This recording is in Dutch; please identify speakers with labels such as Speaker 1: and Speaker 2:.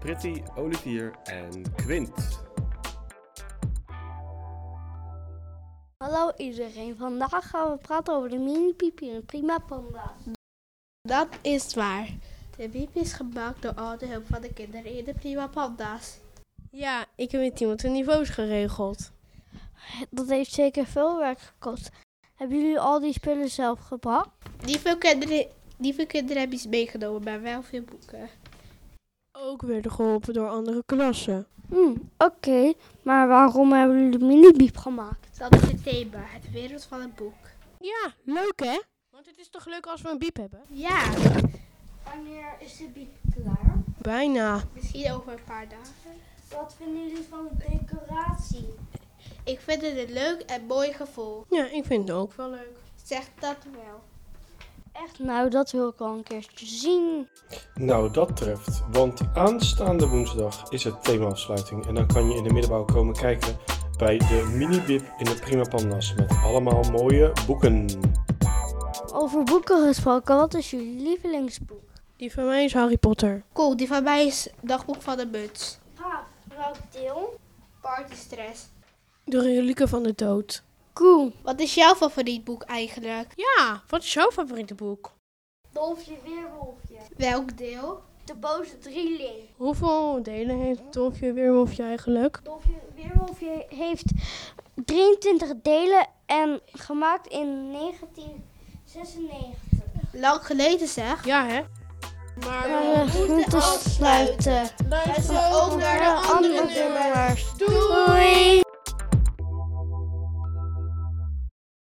Speaker 1: Pretty, Olivier en Quint.
Speaker 2: Hallo iedereen, vandaag gaan we praten over de mini piepje en prima panda.
Speaker 3: Dat is waar. De biep is gemaakt door al de hulp van de kinderen in de Prima Panda's. Ja, ik heb met iemand de niveaus geregeld.
Speaker 2: Dat heeft zeker veel werk gekost. Hebben jullie al die spullen zelf gebracht?
Speaker 3: Niet veel kinderen, niet veel kinderen hebben iets meegenomen, maar wel veel boeken. Ook werden geholpen door andere klassen.
Speaker 2: Hm, oké. Maar waarom hebben jullie de mini piep gemaakt?
Speaker 3: Dat is het thema, het wereld van het boek.
Speaker 4: Ja, leuk hè? Want het is toch leuk als we een biep hebben?
Speaker 3: Ja,
Speaker 2: Wanneer is de biep klaar?
Speaker 4: Bijna.
Speaker 3: misschien over een paar dagen.
Speaker 2: Wat vinden jullie van de decoratie?
Speaker 3: Ik vind het een leuk en mooi gevoel.
Speaker 4: Ja, ik vind het ook wel leuk.
Speaker 3: Zeg dat wel.
Speaker 2: Echt? Nou, dat wil ik al een keertje zien.
Speaker 1: Nou, dat treft, want aanstaande woensdag is het themaafsluiting. En dan kan je in de middenbouw komen kijken bij de mini-bib in de Prima Pandas. Met allemaal mooie boeken.
Speaker 2: Over boeken gesproken, wat is jullie lievelingsboek?
Speaker 4: Die van mij is Harry Potter.
Speaker 3: Cool, die van mij is Dagboek van de Muts.
Speaker 2: Gaaf. Welk deel?
Speaker 3: Party stress.
Speaker 4: De relieken van de dood.
Speaker 2: Cool.
Speaker 3: Wat is jouw favoriet boek eigenlijk?
Speaker 4: Ja, wat is jouw favoriete boek?
Speaker 2: Dolfje, weerwolfje.
Speaker 3: Welk deel?
Speaker 2: De boze drieling.
Speaker 4: Hoeveel delen heeft Dolfje Weerwolfje eigenlijk?
Speaker 2: Dolfje Weerwolfje heeft 23 delen en gemaakt in 1996.
Speaker 3: Lang geleden zeg.
Speaker 4: Ja hè? Maar
Speaker 2: We moeten afsluiten.
Speaker 3: Luister ook naar de andere nummers.
Speaker 2: Doei!